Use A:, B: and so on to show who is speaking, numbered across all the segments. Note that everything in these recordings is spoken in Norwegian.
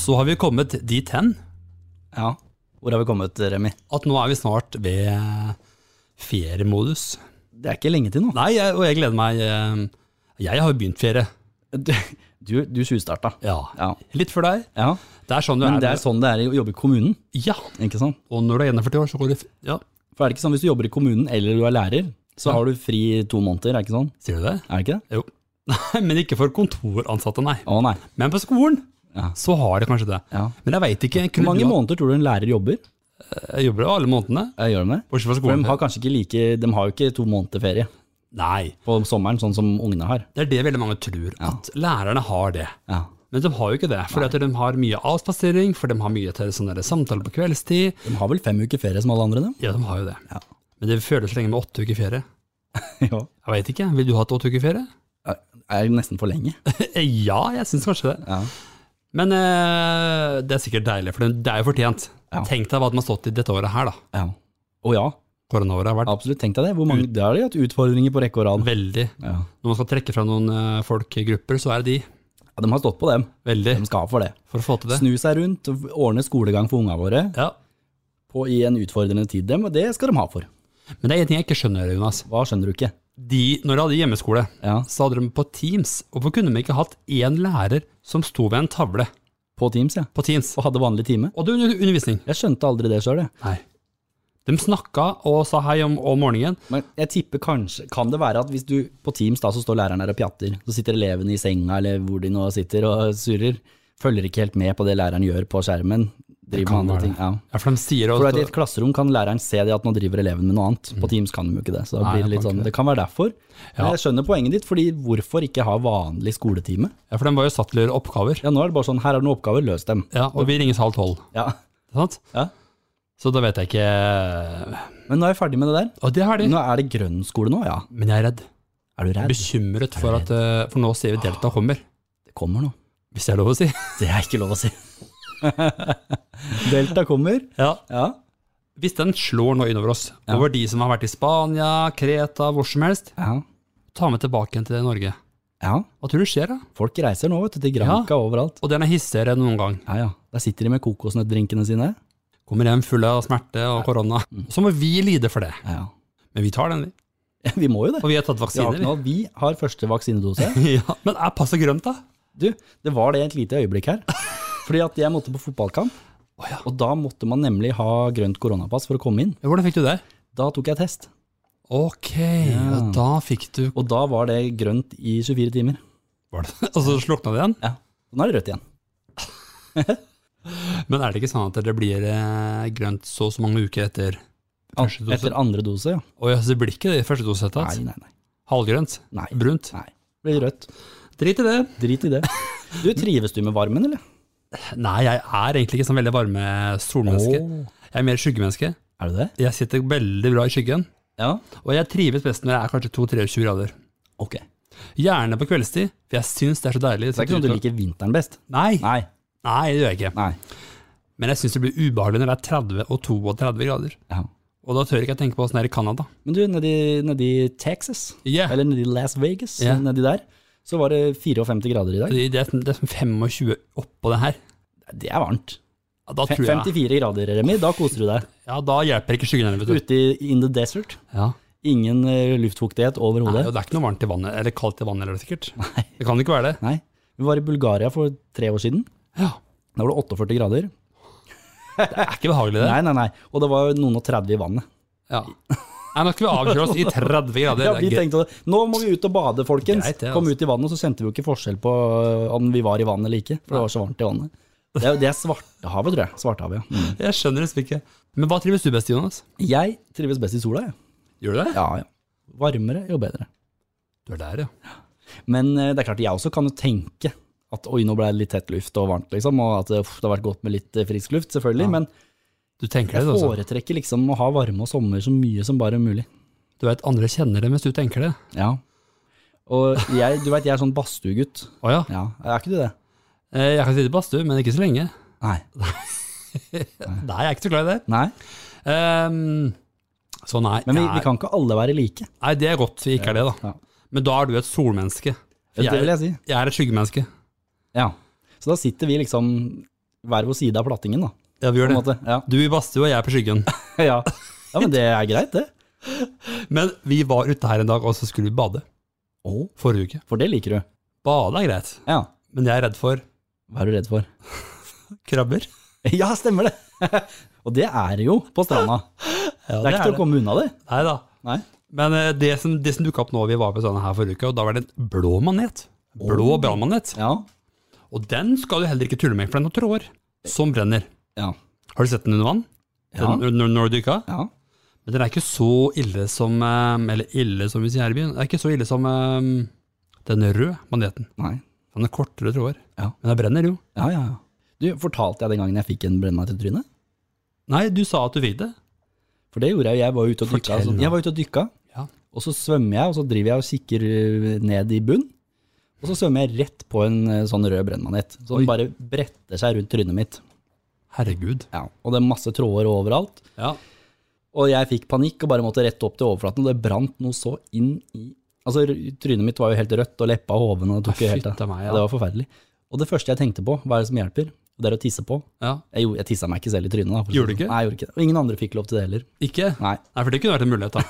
A: så har vi kommet dit hen
B: Ja. Hvor har vi kommet, Remi?
A: at nå er vi snart ved feriemodus.
B: Det er ikke lenge til nå.
A: Nei, jeg, og jeg gleder meg. eh, Jeg har jo begynt ferie.
B: Du, du, du tjuvstarta.
A: Ja.
B: Ja.
A: Litt før deg.
B: ja.
A: Det er sånn du
B: Men det
A: er.
B: er sånn det er å jobbe i kommunen.
A: Ja,
B: ikke sant?
A: og når du er 41 år, så går det f- Ja,
B: For er det ikke sånn hvis du jobber i kommunen eller du er lærer, så har du fri i to måneder, er det ikke sånn?
A: sier du det?
B: Er det ikke det?
A: Jo. Nei, men ikke for kontoransatte, nei.
B: Å nei.
A: Men på skolen
B: Ja.
A: så har de kanskje det.
B: Ja.
A: Men jeg veit ikke.
B: Hvor
A: kunne
B: mange
A: du ha-
B: måneder tror du en lærer jobber?
A: Jeg jobber jo alle månedene.
B: Eh, Gjør de det?
A: Bortsett fra
B: For
A: skolen.
B: de har kanskje ikke like De har jo ikke to måneder ferie
A: Nei.
B: på sommeren, sånn som ungene har.
A: Det er det veldig mange tror, at lærerne har det.
B: Ja.
A: Men de har jo ikke det, for de har mye avspasering, for de har mye til sånne der samtaler på kveldstid.
B: De har vel fem uker ferie som alle andre, dem?
A: Ja, de har jo det.
B: Ja.
A: Men det føles lenge med åtte uker ferie.
B: ja.
A: Jeg veit ikke, vil du ha et åtte uker ferie? Eh,
B: Er det nesten for lenge?
A: ja, jeg syns kanskje det.
B: Ja.
A: Men eh, det er sikkert deilig, for det er jo fortjent.
B: Ja.
A: Tenk deg hva de har stått i dette året her, da.
B: ja. Å ja,
A: Koronaåret har vært
B: absolutt. Tenk deg det. Hvor mange, da har de hatt utfordringer på rekke og rad.
A: veldig
B: Ja.
A: Når man skal trekke fra noen eh, folk i grupper, så er det de.
B: ja, De har stått på, dem.
A: Veldig.
B: De skal ha for det.
A: For å få til det.
B: Snu seg rundt, ordne skolegang for unga våre
A: Ja.
B: på, i en utfordrende tid, dem, og det skal de ha for.
A: Men det er en ting jeg ikke skjønner, Jonas.
B: Hva skjønner du ikke?
A: De, når de hadde hjemmeskole,
B: Ja.
A: så hadde de på Teams. Hvorfor kunne de ikke hatt én lærer som sto ved en tavle
B: På Teams, ja.
A: på Teams
B: Og hadde vanlig time.
A: og hadde under- undervisning?
B: Jeg skjønte aldri det sjøl, jeg.
A: Nei. De snakka og sa hei om, om morgenen.
B: Men jeg tipper kanskje, kan det være at hvis du på Teams da, så står læreren der og pjatter, så sitter elevene i senga eller hvor de nå sitter og surrer, følger ikke helt med på det læreren gjør på skjermen, driver
A: kan
B: med
A: være
B: andre ting. Ja.
A: Ja, for de sier
B: For at i
A: også,
B: et klasserom kan læreren se det at nå driver eleven med noe annet. På Teams kan de jo ikke det. Så da
A: Mm. Nei,
B: blir det
A: jeg kan
B: litt
A: ikke
B: sånn,
A: det.
B: det kan være derfor.
A: Ja.
B: Men jeg skjønner poenget ditt, fordi hvorfor ikke ha vanlig skoletime?
A: ja, for de var jo satt til å gjøre oppgaver.
B: Ja, nå er det bare sånn, her er det noen oppgaver, løs dem.
A: Ja, og vi ringes halv tolv.
B: Ja.
A: ikke Sant?
B: Ja.
A: Så da vet jeg ikke
B: Men nå er jeg ferdig med det der.
A: Og det har de.
B: Nå er det grønn skole nå, ja.
A: Men jeg er redd.
B: Er du redd?
A: Bekymret for at eh, For nå sier vi Delta kommer.
B: Det kommer nå.
A: Hvis det er lov å si.
B: Det er ikke lov å si. Delta kommer.
A: Ja.
B: Ja.
A: Hvis den slår nå innover oss, over de som har vært i Spania, Kreta, hvor som helst,
B: Ja.
A: ta med tilbake igjen til Norge.
B: ja.
A: Hva tror du skjer da?
B: Folk reiser nå, vet du, til Granca overalt.
A: Og den er hissigere enn noen gang.
B: Ja, ja. Der sitter de med kokosnøttdrinkene sine.
A: Kommer hjem full av smerte og korona. Så må vi lide for det.
B: Ja.
A: Men vi tar den, vi.
B: Vi må jo det.
A: Og vi har tatt
B: Vi har,
A: vaksiner,
B: ikke noe- vi har første vaksinedose.
A: vi. Ja. Men er passet grønt, da?
B: Du, det var det et lite øyeblikk her. Fordi at jeg måtte på fotballkamp,
A: Å ja.
B: og da måtte man nemlig ha grønt koronapass for å komme inn.
A: Ja, Hvordan fikk du det?
B: Da tok jeg test,
A: Ok, og da fikk du
B: og da var det grønt i 24 timer.
A: Var det- Og så slukna det igjen?
B: Ja. Og nå er det rødt igjen.
A: Men er det ikke sånn at det blir eh, grønt så og så mange uker etter
B: An-
A: første dose?
B: Etter andre dose, ja.
A: Å ja, så det blir ikke det i første dose
B: Nei,
A: etter?
B: nei, nei.
A: Halvgrønt?
B: Nei.
A: Brunt?
B: nei. Det Blir rødt.
A: Drit i det.
B: Drit i det. Du, trives du med varmen, eller?
A: Nei, jeg er egentlig ikke sånn veldig varme solmenneske. Jeg er mer skyggemenneske.
B: Er du det?
A: Jeg sitter veldig bra i skyggen,
B: Ja.
A: og jeg trives best når jeg er kanskje 2-23 grader.
B: Ok. Det
A: Gjerne på kveldstid, for jeg syns det er så deilig.
B: er ikke sånn du liker vinteren best?
A: Nei,
B: Nei.
A: nei, det gjør jeg ikke.
B: Nei.
A: Men jeg syns det blir ubehagelig når det er 30 og 32 grader.
B: Ja.
A: Og da tør jeg ikke tenke på åssen det er i Canada.
B: Men du, nedi, nedi Texas,
A: Yeah.
B: eller nedi Las Vegas,
A: Ja.
B: nedi der, så var det 54 grader i dag.
A: Det, det, er som- det er som 25 oppå det her.
B: Det er varmt.
A: Ja, da,
B: Fe-
A: tror jeg,
B: 54 grader, Remi. Da koser du deg.
A: ja, da hjelper ikke skyggen heller, vet du.
B: Ute i, in the desert.
A: Ja.
B: Ingen eh, luftfuktighet
A: Nei,
B: overhodet.
A: og det er ikke noe varmt i vannet, eller kaldt i vannet heller, sikkert.
B: Nei.
A: Det kan ikke være det.
B: Nei. Vi var i Bulgaria for tre år siden.
A: Ja.
B: Da var det 48 grader.
A: Det er ikke behagelig, det.
B: Nei, nei, nei. Og det var jo noen og 30 i vannet.
A: Ja. Nei, nå skal vi avkjøre oss i 30 grader.
B: Ja,
A: Det er
B: vi
A: greit.
B: tenkte det. Nå må vi ut og bade, folkens.
A: Greit, det, altså.
B: Kom ut i vannet, så kjente vi jo ikke forskjell på eh, om vi var i vannet eller ikke. For det var så varmt i vannet. Det er, det er Svartehavet, tror jeg. Svartehavet, ja. Mm.
A: Jeg skjønner liksom ikke. Men hva trives du best i, Jonas?
B: Jeg trives best i sola, jeg.
A: Gjør du det?
B: Ja, ja. Varmere jo bedre.
A: Du er der, ja.
B: Men eh, det er klart, jeg også kan jo tenke at oi, nå ble det litt tett luft og varmt, liksom, og at uff, det har vært godt med litt eh, frisk luft, selvfølgelig. Men
A: Du tenker det,
B: jeg
A: du altså. også.
B: foretrekker liksom å ha varme og sommer så mye som bare mulig.
A: Du vet, andre kjenner det mens du tenker det.
B: Ja. Og jeg, du veit, jeg er sånn badstuegutt.
A: Å ja.
B: Ja, er ikke du det?
A: Eh, Jeg kan sitte i badstue, men ikke så lenge.
B: Nei.
A: Nei, jeg er ikke så glad i det.
B: Nei.
A: Ehm, så nei.
B: Men vi,
A: jeg er-
B: vi kan ikke alle være like.
A: Nei, det er godt vi ikke er det, da.
B: Ja.
A: Men da er du et solmenneske. For
B: Det vil jeg si.
A: jeg er et skyggemenneske.
B: Ja. Så da sitter vi liksom hver vår side av plattingen, da.
A: Ja, vi
B: På
A: gjør
B: en
A: det.
B: måte. Ja.
A: Du i badstua, jeg på skyggen.
B: ja. ja, men det er greit, det.
A: Men vi var ute her en dag, og så skulle vi bade.
B: Å,
A: Forrige uke.
B: for det liker du.
A: Bade er greit,
B: Ja.
A: men jeg er redd for
B: Hva er du redd for?
A: krabber.
B: Ja, stemmer det! Og det er det jo på stranda. det er ikke til å komme unna det.
A: Nei da.
B: Nei.
A: Men eh, det som, det som dukka opp nå, vi var på stranda her forrige uke, og da var det en blå manet. Blå brannmanet.
B: Ja.
A: Og den skal du heller ikke tulle med, for den har tråder som brenner.
B: Ja.
A: Har du sett den under vann?
B: Ja.
A: Den, når, når du dykka?
B: ja.
A: Men den er ikke så ille som eh, Eller ille, som vi sier her i byen. Den er ikke så ille som eh, den røde maneten.
B: Nei.
A: Den har kortere tråder.
B: Ja.
A: Men den brenner jo.
B: Ja, ja, ja. Du, fortalte jeg den gangen jeg fikk en brennmatt i trynet?
A: Nei, du sa at du fikk det.
B: For det gjorde jeg. Jeg var ute og dykka.
A: Fortell
B: Så,
A: nå.
B: jeg var ute og dykka,
A: Ja.
B: og så svømmer jeg, og så driver jeg og kikker øh, ned i bunn. Og så svømmer jeg rett på en øh, sånn rød brennmanet. Så den bare bretter seg rundt trynet mitt.
A: Herregud.
B: Ja. Og det er masse tråder overalt.
A: Ja.
B: Og jeg fikk panikk og bare måtte rette opp til overflaten, og det brant noe så inn i Altså, r- trynet mitt var jo helt rødt, og leppa og hoven, og det tok
A: Ja,
B: jo helt av.
A: fytta meg, ja.
B: Det var forferdelig. Og det første jeg tenkte på, hva er det som hjelper? Det er å tisse på.
A: ja.
B: Jeg, gjorde- jeg tissa meg ikke selv i trynet. da. for å si
A: Gjorde du
B: det
A: ikke?
B: sånn. Nei, jeg gjorde ikke det. Og ingen andre fikk lov til det heller.
A: Ikke?
B: Nei.
A: Nei, for det kunne vært en mulighet, da.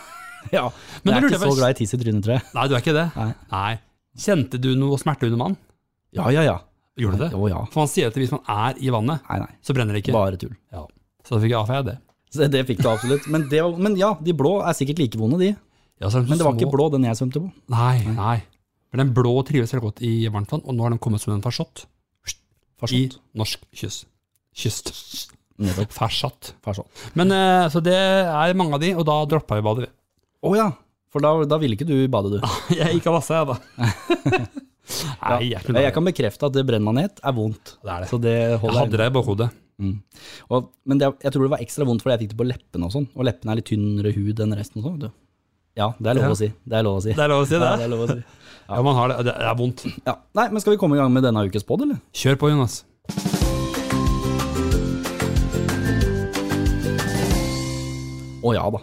B: Ja.
A: Men
B: Men
A: da
B: jeg er
A: lurer jeg
B: ikke
A: på-
B: så glad i tiss i trynet, tror jeg.
A: Nei, du er ikke det.
B: Nei.
A: Kjente du noe smerte under vann?
B: Ja, ja, ja.
A: Gjorde du det?
B: Å ja.
A: For man sier at hvis man er i vannet,
B: Nei, nei.
A: så brenner det ikke.
B: Bare tull.
A: Ja. Så da fikk jeg avfeie det.
B: Så det fikk du absolutt. Men, det, var- men ja, de blå er sikkert like vonde, de.
A: Ja, så er de
B: Men det var
A: små.
B: ikke blå den jeg svømte på.
A: Nei, nei. Men den blå trives veldig godt i varmt vann, og nå har den kommet som en farsott i
B: Farsott.
A: norsk kyst. Kyst.
B: Nettopp.
A: Farsott.
B: Farsott.
A: Men eh, så det er mange av de, og da droppa vi badet. vi.
B: Å ja. For da, da ville ikke du bade, du.
A: Jeg gikk av vasset, jeg, da. Nei, jeg,
B: Ja,
A: kunne,
B: Jeg kan bekrefte at det brennmanet er vondt.
A: Det er det.
B: Så det
A: jeg
B: holder.
A: hadde det i bakhodet.
B: Og, men det, jeg tror det var ekstra vondt fordi jeg fikk det på leppene og sånn. Og leppene er litt tynnere hud enn resten. og sånn, vet du. Ja, det er lov
A: Ja.
B: å si. Det er lov å si.
A: Det er lov å si det.
B: Ja, det er lov å si.
A: Ja, man har det. Det er vondt.
B: Ja. Nei, men skal vi komme i gang med denne ukes pod, eller?
A: Kjør på, Jonas.
B: Å ja da.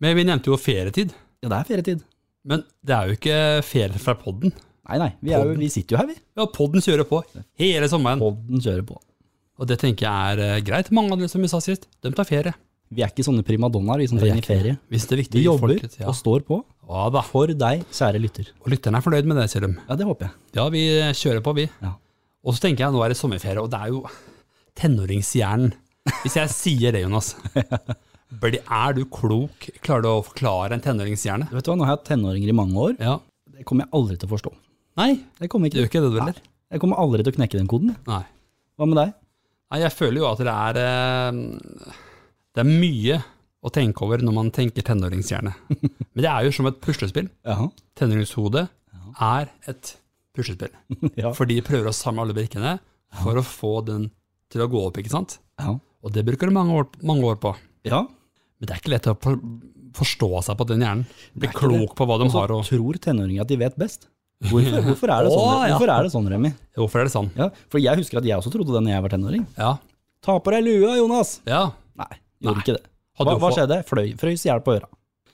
A: Men vi nevnte jo ferietid.
B: Ja, det er ferietid.
A: Men det er jo ikke ferie fra podden.
B: Nei, nei. Vi, er jo, vi sitter jo her, vi.
A: Ja, podden kjører på hele sommeren.
B: Podden kjører på.
A: Og det tenker jeg er eh, greit. Mange av dem som vi sa sist, de tar ferie.
B: Vi er ikke sånne primadonnaer, vi som trenger ferie.
A: Hvis det er viktig
B: Vi jobber
A: ja.
B: og står på
A: ja da.
B: for deg, kjære lytter.
A: Og lytterne er fornøyd med det, sier de.
B: Ja, det håper jeg.
A: Ja, vi eh, kjører på, vi.
B: Ja.
A: Og så tenker jeg, nå er det sommerferie, og det er jo tenåringshjernen. Hvis jeg sier det, Jonas. Blir, er du klok? Klarer du å forklare en tenåringshjerne?
B: Vet du hva, Nå har jeg hatt tenåringer i mange år.
A: Ja.
B: Det kommer jeg aldri til å forstå.
A: Nei,
B: Det kommer
A: det
B: ikke
A: gjør ikke det, du heller.
B: Nei. Jeg kommer aldri til å knekke den koden. jeg.
A: Nei.
B: Hva med deg?
A: Nei, jeg føler jo at det er eh, Det er mye å tenke over når man tenker tenåringshjerne. Men det er jo som et puslespill.
B: Jaha.
A: Tenåringshodet er et puslespill.
B: Ja.
A: For de prøver å samle alle brikkene for å få den til å gå opp, ikke sant?
B: Ja.
A: Og det bruker du mange år, mange år på.
B: ja.
A: Men det er ikke lett å for- forstå seg på den hjernen. Bli
B: Det er ikke
A: klok på hva de
B: Så
A: har og
B: tror tenåringer at de vet best. Hvorfor, hvorfor, er, det sånn,
A: Å, ja.
B: hvorfor er det sånn, Remi?
A: Hvorfor er det sånn?
B: Ja, for jeg husker at jeg også trodde det når jeg var tenåring.
A: Ja.
B: Ta på deg lua, Jonas!
A: ja.
B: Nei, gjorde
A: Nei.
B: ikke det.
A: Hadde
B: Hva,
A: du
B: hva
A: få-
B: skjedde? Fløy, frøys i hjel på øra.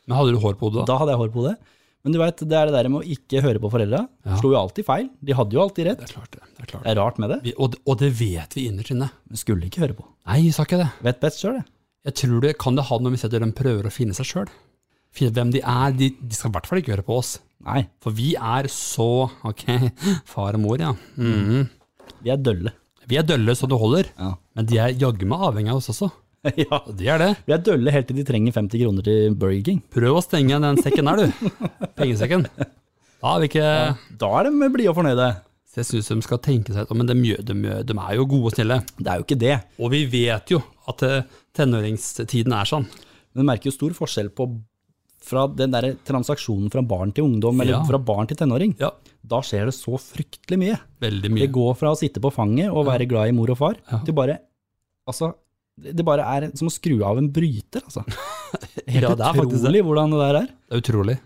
A: Men hadde du hår på hodet da?
B: Da hadde jeg hår på hodet. Men du vet, det er det der med å ikke høre på foreldra.
A: Ja.
B: Slo jo alltid feil. De hadde jo alltid rett.
A: Det er klart det. det, er klart.
B: Det er rart med det.
A: Vi, og, og det vet vi innerst inne.
B: Men skulle ikke høre på.
A: Nei, jeg sa ikke det.
B: Vet best sjøl, jeg.
A: Jeg tror det kan det ha noe med at de prøver å finne seg sjøl. Finne hvem de er. De, de skal i hvert fall ikke høre på oss.
B: Nei,
A: For vi er så Ok, far og mor, ja. Mhm.
B: vi er dølle.
A: Vi er dølle så det holder,
B: Ja.
A: men de er jaggu meg avhengig av oss også.
B: ja.
A: Og det er det.
B: Vi er dølle helt til de trenger 50 kroner til Burger King.
A: Prøv å stenge igjen den sekken der, du. Pengesekken. Da er vi ikke
B: Da er de blide og fornøyde.
A: Så jeg syns de skal tenke seg ut. Men de, gjør- de, gjør- de er jo gode og snille.
B: Det er jo ikke det.
A: Og vi vet jo at eh, tenåringstiden er sånn.
B: Men du merker jo stor forskjell på fra den der transaksjonen fra barn til ungdom, eller
A: Ja.
B: fra barn til tenåring.
A: Ja,
B: Da skjer det så fryktelig mye.
A: veldig
B: Det
A: mye.
B: går fra å sitte på fanget og være glad i mor og far,
A: Ja.
B: til bare Altså, det det bare er som å skru av en bryter, altså. Helt
A: Ja, det er faktisk
B: utrolig hvordan det der er.
A: Det er utrolig.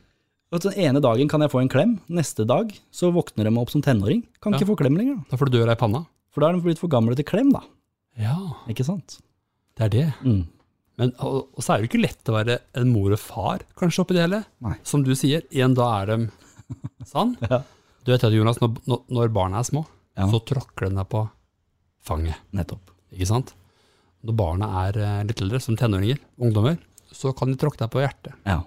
B: Vet du, Den ene dagen kan jeg få en klem, neste dag så våkner de opp som tenåring. Kan
A: Ja.
B: ikke få klem lenger, da.
A: Da får du døra i panna.
B: For da er de blitt for gamle til klem, da.
A: Ja,
B: Ikke sant?
A: det er det.
B: Mm.
A: Men og, og så er det jo ikke lett å være en mor og far, kanskje, oppi det hele.
B: Nei.
A: Som du sier, en da er de sann.
B: Ja.
A: Du vet at Jonas, når, når- når barna er små,
B: Ja.
A: så tråkker de deg på fanget.
B: Nettopp.
A: Ikke sant? Når barna er eh, litt eldre, som tenåringer, ungdommer, så kan de tråkke deg på hjertet.
B: Ja,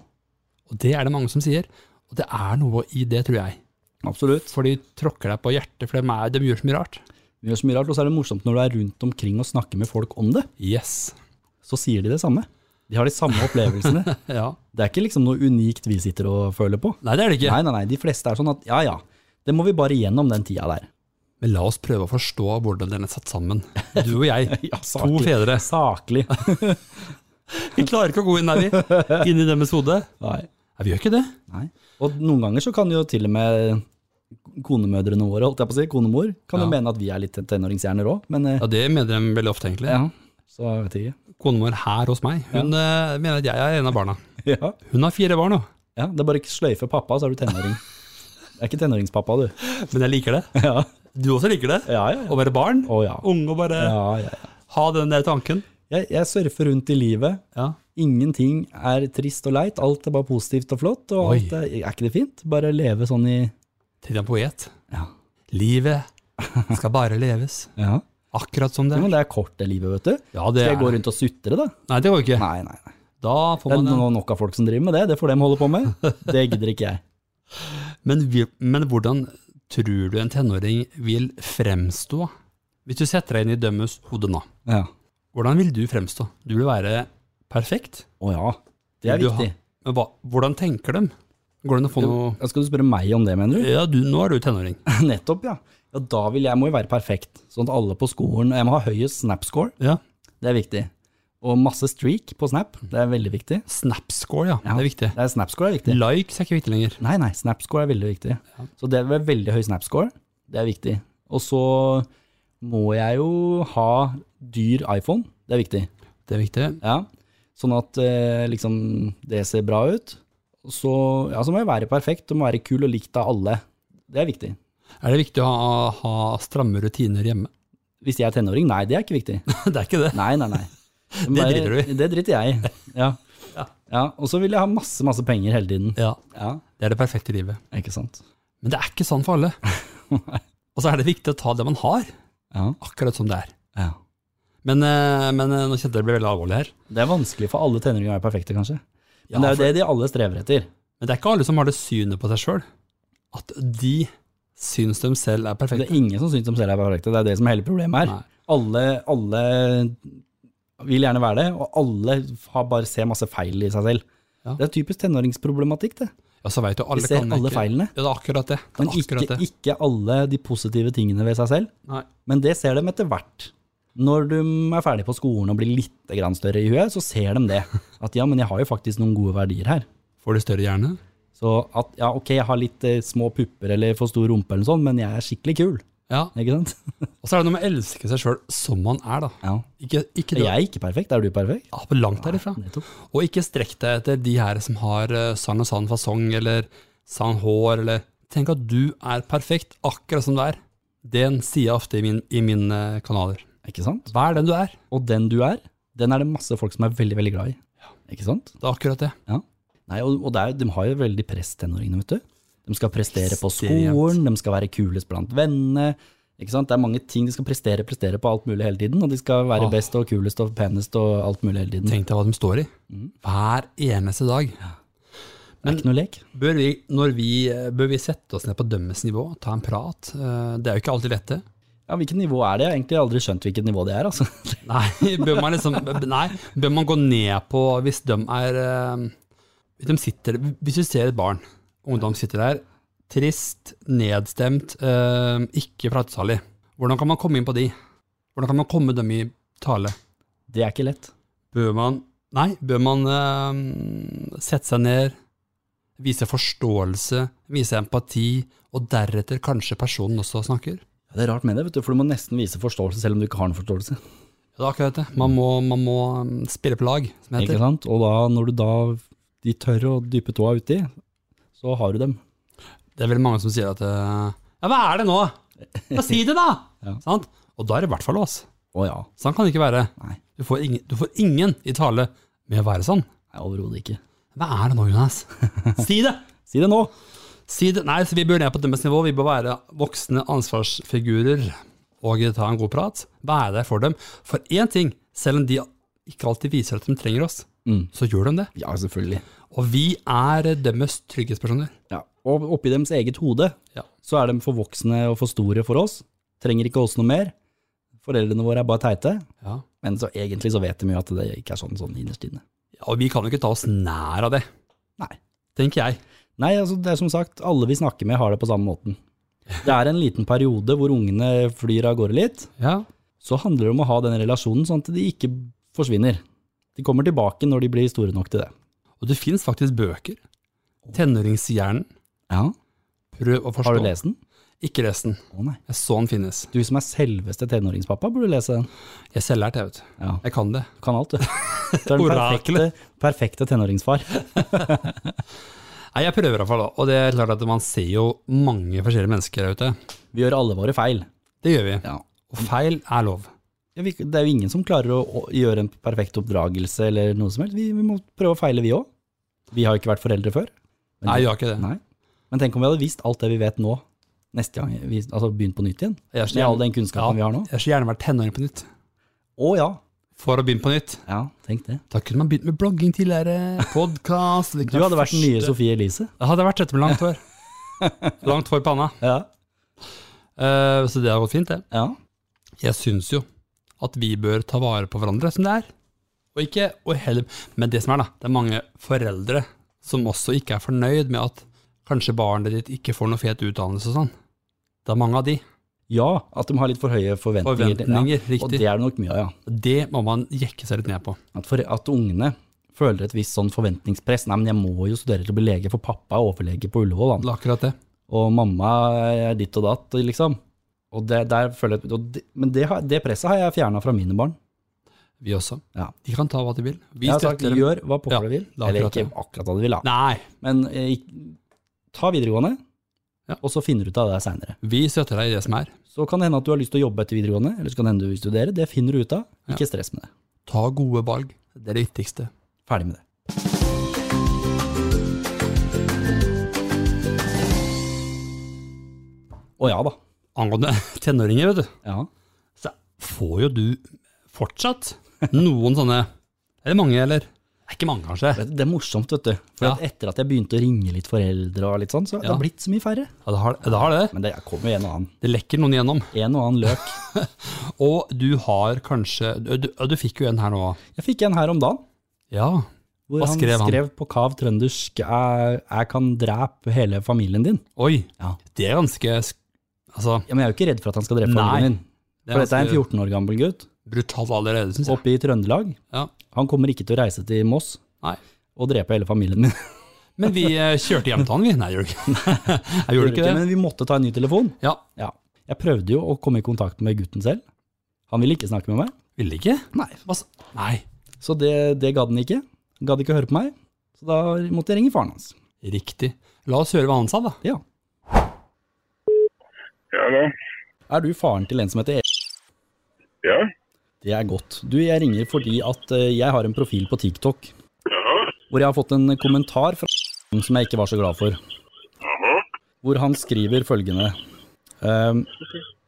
A: Og det er det mange som sier. Og det er noe i det, tror jeg.
B: absolutt.
A: For de tråkker deg på hjertet, for de, er, de gjør så mye rart.
B: Vi gjør så mye rart, og så er det morsomt når du er rundt omkring og snakker med folk om det,
A: Yes.
B: så sier de det samme. De har de samme opplevelsene.
A: Ja.
B: Det er ikke liksom noe unikt vi sitter og føler på.
A: Nei, det er det ikke.
B: Nei, nei, nei, de fleste er sånn at ja, ja, det må vi bare gjennom den tida der.
A: Men la oss prøve å forstå hvordan den er satt sammen. Du og jeg,
B: Ja,
A: to fedre.
B: Saklig.
A: Vi klarer ikke å gå inn der, vi. Inn i den med sode.
B: Nei.
A: Nei, vi gjør ikke det.
B: Nei. Og noen ganger så kan jo til og med konemødrene våre, holdt jeg på å si, konemor, kan
A: Ja.
B: jo mene at vi er litt tenåringshjerner òg, men eh,
A: Ja, Det mener de veldig ofte, egentlig.
B: ja, så vet jeg ikke.
A: Kona vår her hos meg, hun eh, mener at jeg er en av barna.
B: Ja.
A: Hun har fire barn nå,
B: ja, det er bare ikke sløyfe pappa, så er du tenåring. Det er ikke tenåringspappa, du.
A: men jeg liker det.
B: Ja,
A: Du også liker det?
B: ja, ja. ja.
A: Å være barn?
B: Å ja.
A: Ung og bare
B: ja, ja, ja.
A: ha den der tanken?
B: Jeg, jeg surfer rundt i livet.
A: Ja.
B: Ingenting er trist og leit, alt er bare positivt og flott.
A: Oi.
B: Og alt er, er ikke det fint? Bare leve sånn i
A: Til en poet.
B: Ja.
A: Livet skal bare leves,
B: ja.
A: akkurat som det
B: Jo,
A: er.
B: Men det er kort, det livet, vet du.
A: Ja, det er
B: Skal jeg gå
A: Nei,
B: rundt og sutre, da?
A: det går jo ikke.
B: Nei, nei, nei.
A: Da får
B: Det er
A: man en
B: no- nok av folk som driver med det, det får dem holde på med. Det gidder ikke jeg.
A: Men, vi, men hvordan tror du en tenåring vil fremstå? Hvis du setter deg inn i dømmes hode nå,
B: Ja.
A: hvordan vil du fremstå? Du vil være perfekt,
B: Å ja, det er
A: Vil du ha-
B: viktig.
A: men hva, hvordan tenker de? Går det an å få noe
B: Ja, skal du spørre meg om det, mener du?
A: Ja, du, nå er du tenåring.
B: Nettopp, ja. ja da vil jeg, må jeg være perfekt, sånn at alle på skolen Jeg må ha høyest snap-score,
A: Ja.
B: det er viktig. Og masse streak på snap, det er veldig viktig.
A: Snapscore, ja.
B: Ja.
A: Det er viktig.
B: Det er snap-score er viktig.
A: Likes er ikke viktig lenger.
B: Nei, nei, snap-score er veldig viktig. Så det er veldig høy snap-score, det er viktig. Og så må jeg jo ha dyr iPhone, det er viktig.
A: Det er viktig.
B: Ja, sånn at eh, liksom det ser bra ut. Og Så, ja, så må jeg være perfekt, du må være kul og likt av alle. Det er viktig.
A: Er det viktig å ha, ha stramme rutiner hjemme?
B: Hvis jeg er tenåring, nei, det er ikke viktig.
A: det er ikke det.
B: Nei, nei, nei.
A: Det driter du
B: i. Det driter jeg i. Ja.
A: Ja.
B: ja. Og så vil jeg ha masse, masse penger hele tiden.
A: Ja,
B: Ja,
A: det er det perfekte livet.
B: ikke sant.
A: Men det er ikke sånn for alle. Og så er det viktig å ta det man har,
B: Ja,
A: akkurat som det er.
B: ja.
A: Men, eh, men eh, nå kjente jeg det ble veldig alvorlig her.
B: Det er vanskelig for alle tenåringer å være perfekte, kanskje. Men det
A: Ja,
B: er jo det de alle strever etter.
A: Men det er ikke alle som har det synet på seg sjøl, at de syns de selv er
B: Det
A: perfekte.
B: er ingen som syns de selv er perfekte, det er det som er hele problemet her.
A: Nei.
B: Alle, alle vil gjerne være det, og alle har bare ser masse feil i seg selv.
A: Ja.
B: Det er typisk tenåringsproblematikk, det.
A: Ja, så vet jo alle
B: Vi ser
A: kan
B: alle
A: ikke.
B: feilene,
A: Ja, det er akkurat det. det,
B: men
A: er akkurat
B: ikke,
A: det.
B: ikke alle de positive tingene ved seg selv.
A: Nei.
B: Men det ser de etter hvert. Når de er ferdig på skolen og blir litt grann større i huet, så ser de det. At ja, men jeg har jo faktisk noen gode verdier her.
A: Får de større hjerne?
B: Så at ja, ok, jeg har litt eh, små pupper eller for stor rumpe eller sånn, men jeg er skikkelig kul.
A: Ja.
B: Ikke sant?
A: Og så er det noe med å elske seg sjøl som man er, da.
B: Ja.
A: Ikke, ikke det
B: Jeg er ikke perfekt, er du perfekt?
A: Ja, på langt derifra.
B: Nettopp.
A: Og ikke strekk deg etter de her som har eh, sann og sann fasong, eller sann hår, eller Tenk at du er perfekt, akkurat som du er. Den sier jeg ofte i, min, i mine eh, kanaler.
B: Ikke sant?
A: Vær den du er.
B: Og den du er, den er det masse folk som er veldig, veldig glad i. Ikke sant?
A: Det er akkurat det.
B: Nei, og, og det er, de har jo veldig press, tenåringene, vet du. De skal prestere på
A: Ekstremt.
B: skolen, de skal være kulest blant vennene. Ikke sant? Det er mange ting de skal prestere, prestere på alt mulig hele tiden, og de skal være
A: Ah.
B: best og kulest og penest og alt mulig hele tiden.
A: Tenk deg hva de står i.
B: Mm.
A: Hver eneste dag.
B: det er ikke noe lek.
A: Bør vi, når vi, eh, bør vi sette oss ned på dømmes nivå, ta en prat? Eh, Det er jo ikke alltid lett, det.
B: Ja, hvilket nivå er det? Jeg har egentlig aldri skjønt hvilket nivå det er, altså.
A: Nei, bør man, liksom, nei, bør man gå ned på hvis de er eh, hvis, de sitter, hvis du ser et barn, ungdom sitter der, trist, nedstemt, eh, ikke pratesalig. Hvordan kan man komme inn på de? Hvordan kan man komme dem i tale?
B: Det er ikke lett.
A: Bør man Nei, bør man eh, sette seg ned, vise forståelse, vise empati, og deretter kanskje personen også snakker?
B: Ja, det er rart med det, vet du, for du må nesten vise forståelse selv om du ikke har noen forståelse.
A: Ja, det er akkurat det. Man må, man må eh, spille på lag, som det heter.
B: Ikke sant? Og da, når du da, de tør å dype tåa uti, så har du dem.
A: Det er veldig mange som sier at eh, Ja, hva er det nå? Ja, si det, da!
B: Ja.
A: Sant? Og da er det i hvert fall oss.
B: Å ja.
A: Sånn kan det ikke være.
B: Nei.
A: Du får, ingen, du får ingen i tale med å være sånn.
B: Nei, overhodet ikke.
A: Hva er det nå, Jonas? Si det!
B: Si det nå!
A: Si det. Nei, så vi bør ned på dømmes nivå. Vi bør være voksne ansvarsfigurer. og ta en god prat. Være der for dem. For én ting, selv om de ikke alltid viser at de trenger oss,
B: Mm.
A: så gjør de det.
B: Ja, selvfølgelig.
A: Og vi er deres trygghetspersoner.
B: Ja. Og oppi deres eget hode
A: Ja.
B: så er de for voksne og for store for oss. Trenger ikke oss noe mer. Foreldrene våre er bare teite.
A: Ja.
B: Men så egentlig så vet de jo at det ikke er sånn, sånn innerst inne.
A: Og vi kan jo ikke ta oss nær av det,
B: Nei.
A: tenker jeg.
B: Nei, altså det er som sagt, alle vi snakker med har det på samme måten. Det er en liten periode hvor ungene flyr av gårde litt,
A: Ja.
B: så handler det om å ha den relasjonen sånn at de ikke forsvinner. De kommer tilbake når de blir store nok til det.
A: Og det fins faktisk bøker. Tenåringshjernen.
B: Ja,
A: Prøv å forstå.
B: Har du lest den?
A: Ikke lest den.
B: Å nei.
A: Jeg så den finnes.
B: Du som er selveste tenåringspappa, burde lese den.
A: Jeg selv lærte, jeg, vet du.
B: Ja,
A: Jeg kan det.
B: du kan alt, du. Du er den perfekte,
A: Oraklet.
B: perfekte tenåringsfar.
A: Nei, jeg prøver i hvert fall, da. og det er klart at man ser jo mange forskjellige mennesker der ute.
B: Vi gjør alle våre feil.
A: Det gjør vi.
B: Ja.
A: Og feil er lov.
B: Ja, vi- Det er jo ingen som klarer å å gjøre en perfekt oppdragelse eller noe som helst. Vi, vi må prøve å feile, vi òg. Vi har jo ikke vært foreldre før. Men-
A: Nei, vi har ikke det.
B: Nei. Men tenk om vi hadde visst alt det vi vet nå, neste gang vi altså begynt på nytt igjen.
A: Jeg er så
B: Med all
A: gjerne,
B: den kunnskapen
A: Ja.
B: vi har nå.
A: jeg har så gjerne vært tenåring på nytt.
B: Å ja.
A: For å begynne på nytt.
B: ja, tenk det.
A: Da kunne man begynt med blogging tidligere, podkast
B: Du hadde vært den nye Sofie Elise.
A: Det hadde jeg vært dette med langt hår. langt hår i panna.
B: Ja.
A: Eh, så det har gått fint, det.
B: ja.
A: Jeg syns jo at vi bør ta vare på hverandre som det er. Og ikke, og heller, men det som er, da, det er mange foreldre som også ikke er fornøyd med at kanskje barnet ditt ikke får noe fet utdannelse og sånn. Det er mange av de.
B: Ja, at de har litt for høye forventninger.
A: Forventninger,
B: ja. Og
A: riktig.
B: det er det nok mye av, ja.
A: Det må man jekke seg litt ned på.
B: At, for, at ungene føler et visst sånn forventningspress. Nei, men jeg må jo studere til å bli lege, for pappa er overlege på Ullevål, han.
A: Det er akkurat det.
B: og mamma er ditt og datt, liksom. Og det, der føler jeg, og det, men det, har- det presset har jeg fjerna fra mine barn.
A: Vi også.
B: Ja.
A: De kan ta hva de vil. Vi
B: Jeg har sagt
A: støtter dem.
B: gjør hva pokker
A: Ja,
B: du vil.
A: det er
B: Eller
A: akkurat
B: ikke akkurat hva du vil, da.
A: Nei,
B: Men eh, ikk- ta videregående,
A: Ja.
B: og så finner du ut av det seinere.
A: vi støtter deg i det som er.
B: Så kan det hende at du har lyst til å jobbe etter videregående, eller så kan det hende du vil studere. Det finner du ut av. Ikke stress med det.
A: Ta gode valg. Det er det viktigste.
B: Ferdig med det. Å ja da.
A: Angående tenåringer, vet du.
B: Ja.
A: så får jo du fortsatt noen sånne Er det mange, eller? Det er ikke mange, kanskje.
B: Vet du, Det er morsomt, vet du. For
A: Ja.
B: at etter at jeg begynte å ringe litt foreldre og litt sånn, så har det
A: Ja.
B: blitt så mye færre.
A: Ja, det har det. har det.
B: Men det kommer jo en og annen.
A: Det lekker noen igjennom.
B: En og annen løk.
A: Og du har kanskje Du, du, ja, du fikk jo en her nå.
B: Jeg fikk en her om dagen.
A: Ja.
B: Hvor
A: Hva
B: han
A: skrev
B: skrev,
A: han?
B: på Kav trøndersk jeg, 'Jeg kan drepe hele familien din'.
A: Oi.
B: Ja.
A: Det er ganske sk- Altså,
B: Ja, men jeg er jo ikke redd for at han skal drepe
A: Nei.
B: familien min.
A: det
B: For dette er en
A: ganske
B: 14 år gammel gutt
A: brutalt allerede, syns jeg.
B: oppe i Trøndelag.
A: Ja.
B: Han kommer ikke til å reise til Moss
A: Nei.
B: og drepe hele familien min.
A: Men vi eh, kjørte hjem til han, vi. Nei, gjorde vi ikke Jeg gjorde ikke det.
B: Men vi måtte ta en ny telefon.
A: Ja.
B: Ja. Jeg prøvde jo å komme i kontakt med gutten selv. Han ville ikke snakke med meg.
A: Ville ikke?
B: Nei.
A: Hva s- Nei.
B: Så det, det gadd han ikke. Han gadd ikke å høre på meg. Så da måtte jeg ringe faren hans.
A: Riktig. La oss høre hva han sa, da.
B: Ja.
C: Ja da.
B: Er du faren til en som heter Erik?
C: Ja.
B: Det er godt. Du, jeg ringer fordi at eh, jeg har en profil på TikTok
C: Jaha.
B: hvor jeg har fått en kommentar fra som jeg ikke var så glad for.
C: Jaha.
B: hvor han skriver følgende ehm,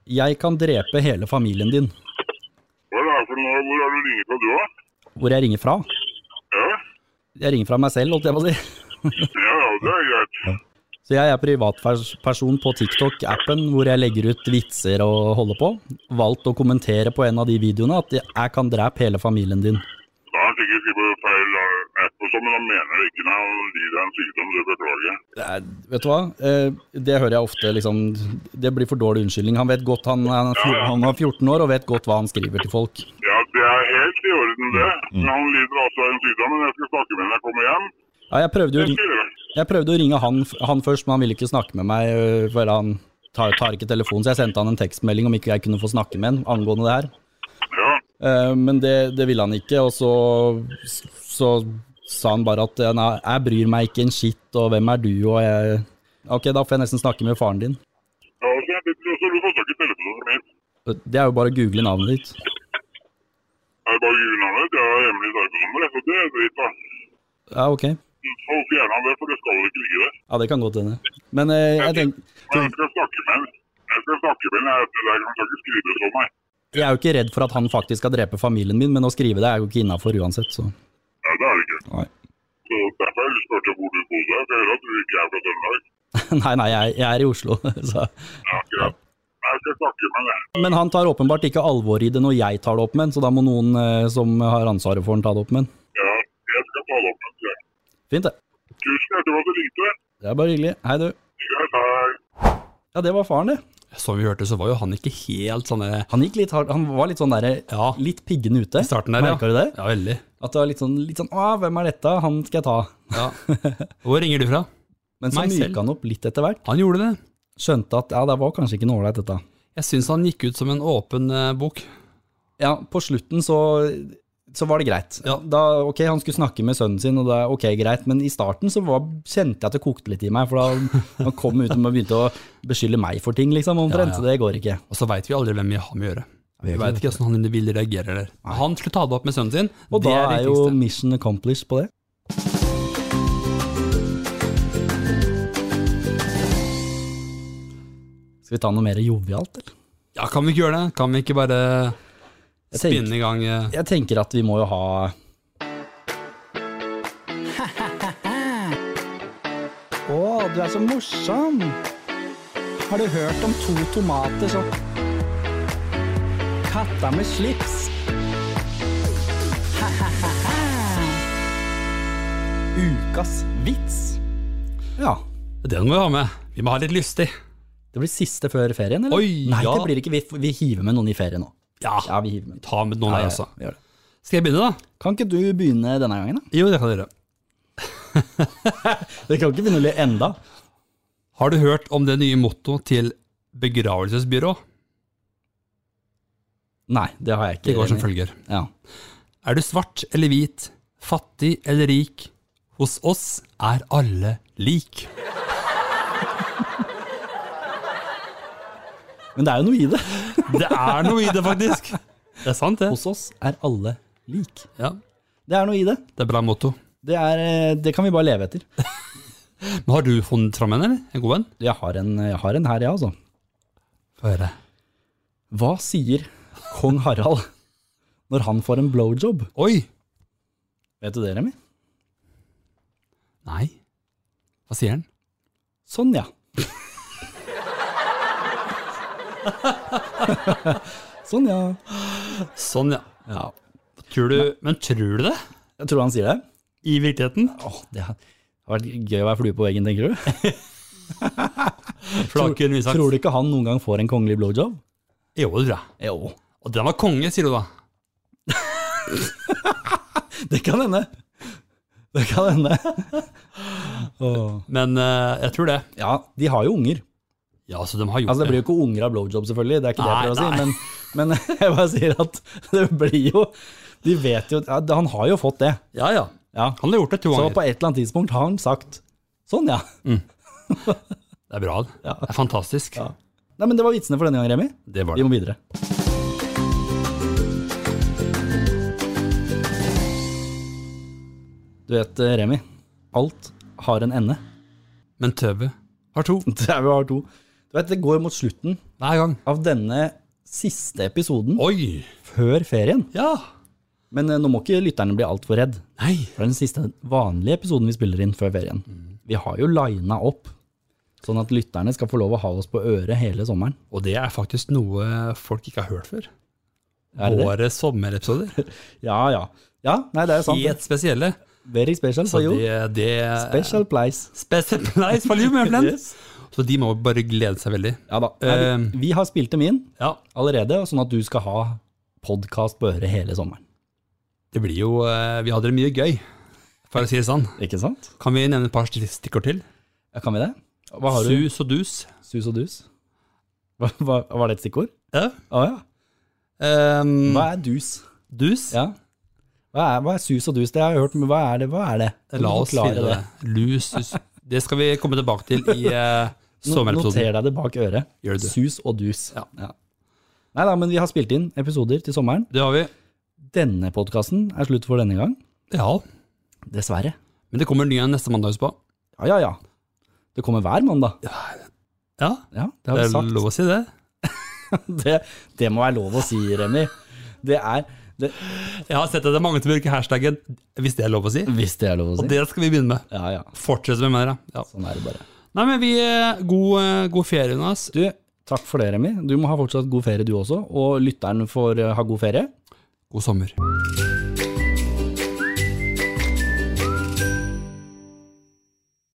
B: Jeg kan drepe hele familien din,
C: Hva er det her for noe? Hvor har du ringt fra du, da?
B: hvor jeg ringer fra.
C: Ja.
B: Jeg ringer fra meg selv, holdt jeg på å si.
C: ja, ja, det er greit.
B: Så jeg er privatperson på TikTok-appen hvor jeg legger ut vitser og holder på. Valgt å kommentere på en av de videoene at jeg kan drepe hele familien din.
C: Da har han sikkert skrevet feil eh, app og sånn, men han mener det ikke. Nei, han lider av en sykdom, det beklager jeg.
B: Det er, vet du hva, Eh, det hører jeg ofte liksom Det blir for dårlig unnskyldning. Han vet godt han, han, er fjo- han er 14 år og vet godt hva han skriver til folk.
C: Ja, det er helt i orden, det. Men han lider altså av en sykdom, men jeg skal snakke med ham når jeg kommer hjem.
B: Ja, jeg prøvde jo å
C: Det
B: ringe
C: skal jeg gjøre.
B: Jeg prøvde å ringe han, han først, men han ville ikke snakke med meg, øh, for han tar, tar ikke telefonen, så jeg sendte han en tekstmelding om ikke jeg kunne få snakke med han angående det her.
C: Ja.
B: Eh, Men det, det ville han ikke, og så, så sa han bare at nei, jeg bryr meg ikke en skitt, og hvem er du, og jeg Ok, da får jeg nesten snakke med faren din.
C: Ja, så jeg vet også, du får snakke telefonen min.
B: Det er jo bare å google navnet ditt.
C: Er det bare julenavnet? Jeg har hemmelig telefonummer, jeg, så det er dritt, da.
B: Ja, ok. Ja,
C: Så fjerner han det, for det skal ikke ligge der.
B: det kan godt hende. Men eh, jeg tenker
C: Men jeg skal snakke med ham. Jeg skal snakke med henne etter det. Jeg kan ikke skrive sånn, nei.
B: Jeg er jo ikke redd for at han faktisk skal drepe familien min, men å skrive det er jo ikke innafor uansett, så
C: Nei, det er det ikke.
B: Nei.
C: Så Derfor er jeg spurte hvor du bodde. Jeg hører at du ikke er fra Trøndelag.
B: Nei, nei, jeg, jeg er i Oslo, så
C: Ja, er greit. Jeg skal snakke med henne.
B: Men han tar åpenbart ikke alvoret i det når jeg tar det opp med han, så da må noen eh, som har ansvaret for han, ta det opp med han.
C: Ja, jeg skal ta det opp med henne.
B: Fint, det.
C: Tusen hjertelig for at du ringte.
B: Det er bare hyggelig. Hei, du.
C: Greit, hei.
B: Ja, det var faren, det.
A: Som vi hørte, så var jo han ikke helt sånn der-
B: Han gikk litt hardt, han var litt sånn derre
A: Ja.
B: Litt piggende ute.
A: i starten der.
B: Merka du det?
A: Ja, veldig.
B: At det var litt sånn, litt sånn Å, hvem er dette? Han skal jeg ta.
A: Ja. Hvor ringer du fra?
B: Men så
A: Meg selv.
B: myka han opp litt etter hvert.
A: Han gjorde det.
B: Skjønte at ja, det var kanskje ikke noe ålreit, dette.
A: Jeg syns han gikk ut som en åpen eh, bok.
B: Ja, på slutten så, så var det greit.
A: Ja.
B: Da, ok, han skulle snakke med sønnen sin, og det er ok, greit, men i starten så var, kjente jeg at det kokte litt i meg, for da han kom ut og begynte å beskylde meg for ting, liksom, omtrent,
A: Ja, ja.
B: så det går ikke.
A: Og så veit vi aldri hvem vi har med å gjøre. Vi
B: ikke
A: veit ikke hvordan han vil reagere. Eller. Han skulle ta det opp med sønnen sin,
B: Og
A: det
B: da
A: er det
B: er jo
A: viktigste.
B: mission accomplished på det. Skal vi ta noe mer jovialt, eller?
A: Ja, kan vi ikke gjøre det? Kan vi ikke bare
B: Jeg tenker-
A: spinne i gang eh,
B: Jeg tenker at vi må jo ha Å, du er så morsom! Har du hørt om to tomater som Katta med slips! Ukas vits. Ja.
A: Den må vi ha med. Vi må ha litt lystig.
B: Det blir siste før ferien, eller?
A: Oi,
B: Nei,
A: ja.
B: det blir ikke. Vi, vi hiver med noen i ferie nå.
A: Ja,
B: Ja, vi hiver med
A: ta med noen
B: Ah.
A: her
B: Ja, ja,
A: også.
B: vi gjør det.
A: Skal jeg begynne, da?
B: Kan ikke du begynne denne gangen, da?
A: Jo, det kan jeg gjøre.
B: Det kan ikke begynne å le enda.
A: Har du hørt om det nye mottoet til begravelsesbyrå?
B: Nei, det har jeg ikke.
A: Det går som
B: Remi.
A: følger.
B: Ja.
A: Er du svart eller hvit, fattig eller rik? Hos oss er alle lik.
B: Men det er jo noe i det.
A: Det er noe i det, faktisk. Det er sant, det.
B: Hos oss er alle lik.
A: Ja,
B: Det er noe i det.
A: det er bra motto.
B: Det, er, eh, det kan vi bare leve etter.
A: Men har du funnet fram en, eller? En god en?
B: Jeg har en, jeg har en her, ja, altså.
A: Få høre.
B: Hva sier kong Harald når han får en blowjob?
A: Oi!
B: Vet du det, Remi?
A: Nei. Hva sier han?
B: Sånn, ja. sånn, ja.
A: Sånn, ja.
B: ja.
A: Tror du, men tror du det?
B: Jeg tror han sier det.
A: I virkeligheten?
B: Åh, det har har vært gøy å være flue på veggen, tenker du?
A: For det har ikke vi sagt.
B: Tror du ikke han noen gang får en kongelig blowjob?
A: Jo, det tror jeg.
B: Jo,
A: Og den var konge, sier du da.
B: det kan hende. Det kan hende. Åh.
A: Men eh, jeg tror det.
B: Ja, de har jo unger.
A: Ja, så de har gjort
B: Altså, Det blir jo ikke unger av blowjob, selvfølgelig, det er ikke det jeg prøver
A: Nei,
B: å si, men, men jeg bare sier at det blir jo De vet jo ja, Han har jo fått det.
A: det. Ja, ja.
B: Ja.
A: Han har gjort det to
B: Så
A: ganger.
B: på et eller annet tidspunkt har han sagt sånn, ja.
A: Det er bra. det. Det er fantastisk.
B: Ja. Nei, men Det var vitsene for denne gang, Remi.
A: Det var
B: Vi
A: det.
B: må videre. Du vet, eh, Remi, alt har en ende.
A: Men Tøve har to
B: Det er vi har to. Du vet, Det går mot slutten
A: hver gang.
B: av denne siste episoden
A: Oi!
B: før ferien.
A: Ja.
B: Men eh, nå må ikke lytterne bli altfor redd.
A: Nei.
B: For det er den siste vanlige episoden vi spiller inn før ferien. Vi har jo lina opp, sånn at lytterne skal få lov å ha oss på øret hele sommeren.
A: Og det er faktisk noe folk ikke har hørt før.
B: Er det det?
A: Våre sommerepisoder.
B: Ja, ja. Ja, nei, det er sant.
A: Helt spesielle.
B: Very special
A: Så
B: for you.
A: det, det
B: Special place.
A: Special place for you, my friend. Så de må bare glede seg veldig.
B: Ja da. Nei,
A: Um,
B: vi, vi har spilt dem inn
A: Ja,
B: allerede, sånn at du skal ha podkast på øret hele sommeren.
A: det blir jo eh, Vi hadde det mye gøy, for å si det sånn.
B: Ikke sant?
A: Kan vi nevne et par stikkord til?
B: Ja, kan vi det? Hva har du?
A: Sus og dus.
B: Sus og dus? Hva, hva, var det et stikkord?
A: Ja.
B: Å ja.
A: Ehm,
B: Hva er dus?
A: dus?
B: Ja. Hva er, hva er sus og dus? Det har jeg hørt, men hva er det? Hva er det? Kan
A: La
B: du
A: oss
B: forklare
A: finne det. Lus, sus. Det skal vi komme tilbake til i uh,
B: No-
A: sommerepisoden.
B: Noter deg det bak øret.
A: Gjør det.
B: Sus og dus.
A: Ja.
B: Nei da, men vi har spilt inn episoder til sommeren.
A: Det har vi.
B: Denne podkasten er slutt for denne gang.
A: Ja.
B: Dessverre.
A: Men det kommer en ny en neste mandag, husk på.
B: Ja, ja, ja. Det kommer hver mandag.
A: Ja,
B: Ja, det
A: det
B: har vi
A: er
B: sagt.
A: lov å si det.
B: Det, det må være lov å si, Remi. Det er det,
A: Jeg har sett at det er mange som bruker hashtaggen 'hvis det er lov å si'.
B: Hvis det er lov å
A: Og
B: si.
A: det skal vi begynne med.
B: Ja, ja.
A: Fortsett med det. Ja.
B: Sånn er det bare.
A: Nei, men vi, eh, god, eh, god ferie, Jonas.
B: Du, takk for det, Remi. Du må ha fortsatt god ferie, du også. Og lytteren får eh, ha god ferie.
A: God sommer.